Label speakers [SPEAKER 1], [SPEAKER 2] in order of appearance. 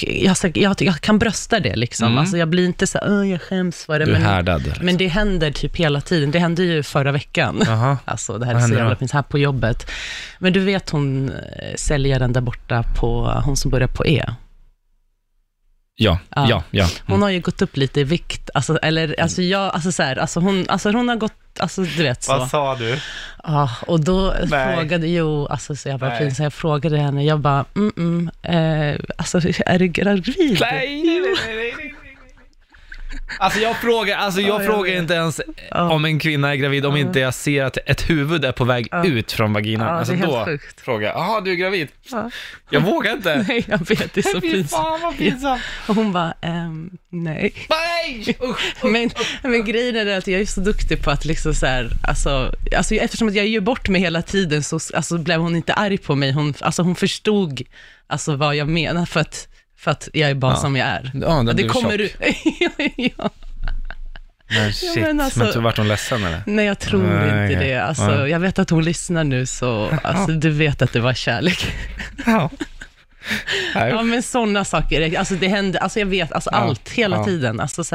[SPEAKER 1] jag, så- jag, jag kan brösta det liksom. Alltså, jag blir inte så här, "Åh, jag skäms för det.
[SPEAKER 2] Mm. Du är härdad, liksom.
[SPEAKER 1] men det händer typ hela tiden. Det hände ju förra veckan.
[SPEAKER 2] Jaha.
[SPEAKER 1] Alltså, det här
[SPEAKER 2] Vad
[SPEAKER 1] är så
[SPEAKER 2] hände
[SPEAKER 1] jävla
[SPEAKER 2] då?
[SPEAKER 1] pinsamt, här på jobbet. Men du vet hon eh, säljaren där borta på, hon som börjar på E.
[SPEAKER 2] Ja,
[SPEAKER 1] Ja.
[SPEAKER 2] ja, ja.
[SPEAKER 1] Hon har ju gått upp lite i vikt. Alltså,
[SPEAKER 2] Mm.
[SPEAKER 1] eller, alltså, jag, alltså, så här, alltså, hon, alltså hon har gått, alltså du vet så.
[SPEAKER 3] Vad sa du?
[SPEAKER 1] Ja, och då
[SPEAKER 3] Nej.
[SPEAKER 1] frågade, jo, alltså så jag var
[SPEAKER 3] Nej.
[SPEAKER 1] pinsamt, jag frågade henne, jag bara, mm, mm eh, alltså är du gravid?
[SPEAKER 2] Nej, nej, nej, nej, nej. Alltså jag frågar, alltså jag
[SPEAKER 1] jag
[SPEAKER 2] frågar
[SPEAKER 1] vet.
[SPEAKER 2] inte ens
[SPEAKER 1] Ja.
[SPEAKER 2] om en kvinna är gravid om inte jag ser att ett huvud är på väg ut från vaginan.
[SPEAKER 1] Ja, det är
[SPEAKER 2] alltså
[SPEAKER 1] helt
[SPEAKER 2] då
[SPEAKER 1] sjukt.
[SPEAKER 2] frågar jag, jaha du är gravid? Jag vågar inte.
[SPEAKER 1] Nej, jag vet, det är så
[SPEAKER 2] Fy
[SPEAKER 1] pinsamt.
[SPEAKER 2] fan vad pinsamt.
[SPEAKER 1] Och hon bara, ehm, nej.
[SPEAKER 2] Nej! Usch.
[SPEAKER 1] Men, men grejen är det att jag är så duktig på att liksom så här, alltså, alltså eftersom att jag gör bort mig hela tiden så alltså, blev hon inte arg på mig. Hon, alltså, hon förstod alltså, vad jag menar för att, för att jag är bara som jag är.
[SPEAKER 2] Ja, den
[SPEAKER 1] det
[SPEAKER 2] blev
[SPEAKER 1] kommer
[SPEAKER 2] tjock.
[SPEAKER 1] ut- ja,
[SPEAKER 2] Men shit,
[SPEAKER 1] Ja, men
[SPEAKER 2] men,
[SPEAKER 1] alltså-
[SPEAKER 2] men vart hon ledsen eller?
[SPEAKER 1] Nej, jag tror
[SPEAKER 2] Nej,
[SPEAKER 1] inte
[SPEAKER 2] okej.
[SPEAKER 1] det. Alltså,
[SPEAKER 2] Ja.
[SPEAKER 1] Jag vet att hon lyssnar nu, så alltså, du vet att det var kärlek.
[SPEAKER 2] Ja. Nej,
[SPEAKER 1] Ja, men sådana saker. Alltså, det händer, alltså, jag vet, alltså,
[SPEAKER 2] Ja,
[SPEAKER 1] allt, hela
[SPEAKER 2] ja.
[SPEAKER 1] tiden. Alltså, så här,